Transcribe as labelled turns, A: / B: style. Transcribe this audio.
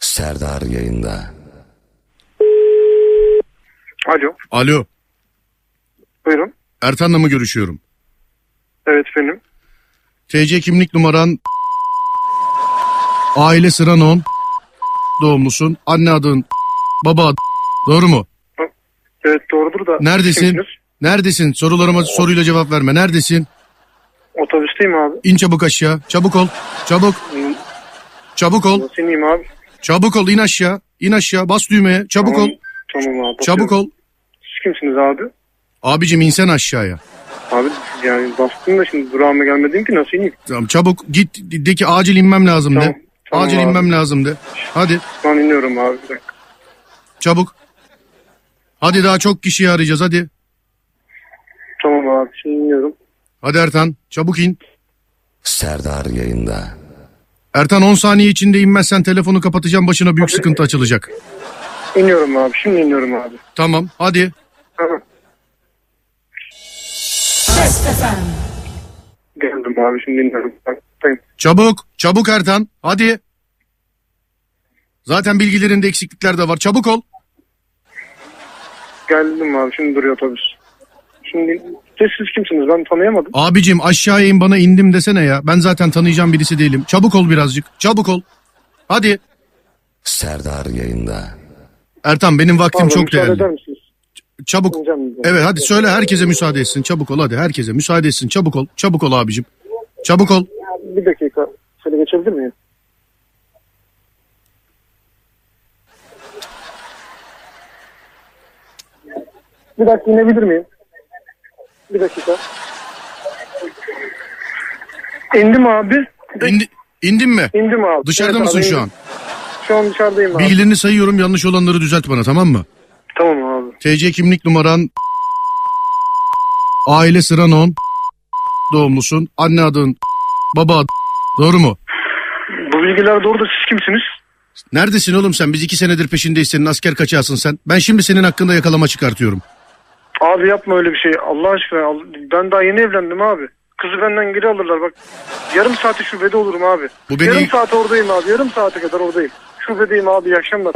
A: Serdar yayında.
B: Alo,
C: Alo.
B: buyurun.
C: Ertan'la mı görüşüyorum?
B: Evet benim.
C: TC kimlik numaran... Aile sıran 10. Doğumlusun. Anne adın... Baba adın... Doğru mu?
B: Evet doğrudur da.
C: Neredesin?
B: Kimsiniz?
C: Neredesin? Sorularıma soruyla cevap verme. Neredesin?
B: Otobüsteyim abi.
C: İn çabuk aşağı. Çabuk ol. Çabuk. Çabuk ol.
B: Nasıl ineyim abi?
C: Çabuk ol. İn aşağı. İn aşağı. Bas düğmeye. Çabuk ol.
B: Tamam, Tamam abi.
C: Çabuk
B: bakıyorum.
C: ol.
B: Siz kimsiniz abi?
C: Abicim insen aşağıya.
B: Abi yani bastım da şimdi durağıma gelmedim ki nasıl ineyim?
C: Tamam çabuk git de ki acil inmem lazım
B: Tamam,
C: de.
B: tamam
C: acil
B: abi.
C: inmem lazım de. Hadi
B: Şu an iniyorum abi. Bir dakika.
C: çabuk. Hadi daha çok kişiyi arayacağız hadi.
B: Tamam abi şimdi iniyorum.
C: Hadi Ertan çabuk in.
A: Serdar yayında.
C: Ertan 10 saniye içinde inmezsen telefonu kapatacağım başına büyük sıkıntı açılacak.
B: İniyorum abi. Şimdi iniyorum abi.
C: Tamam hadi.
B: Tamam. Geldim abi şimdi iniyorum. Tamam.
C: Çabuk çabuk Ertan hadi. Zaten bilgilerinde eksiklikler de var çabuk ol.
B: Geldim abi şimdi duruyor otobüs. Şimdi siz, siz kimsiniz? Ben tanıyamadım.
C: Abicim aşağıya in bana indim desene ya. Ben zaten tanıyacağım birisi değilim. Çabuk ol birazcık çabuk ol. Hadi
A: Serdar yayında.
C: Ertan benim vaktim
B: Pardon,
C: çok
B: müsaade
C: değerli.
B: eder misiniz?
C: Çabuk.
B: İneceğim, ineceğim.
C: Evet hadi söyle herkese müsaade etsin. Çabuk ol hadi herkese müsaade etsin. Çabuk ol. Çabuk ol abicim. Çabuk ol.
B: Bir dakika. Şöyle geçebilir miyim? Bir dakika inebilir miyim? Bir dakika. İndim abi.
C: İndi, indin mi?
B: İndim abi.
C: Dışarıda
B: Evet
C: mısın
B: abi,
C: şu
B: indim.
C: an?
B: Şu an dışarıdayım abi.
C: Bilgilerini sayıyorum yanlış olanları düzelt bana tamam mı?
B: Tamam abi.
C: TC kimlik numaran aile sıran 10 doğumlusun anne adın baba adın doğru mu?
B: Bu bilgiler doğru da siz kimsiniz?
C: Neredesin oğlum sen? Biz iki senedir peşindeyiz senin asker kaçağısın sen. Ben şimdi senin hakkında yakalama çıkartıyorum.
B: Abi yapma öyle bir şey. Allah aşkına. al- Ben daha yeni evlendim abi. Kızı benden geri alırlar bak. Yarım saati şubede olurum abi.
C: Bu beni-
B: Yarım saat oradayım abi. Yarım saate kadar oradayım. Şubedeyim abi. İyi akşamlar.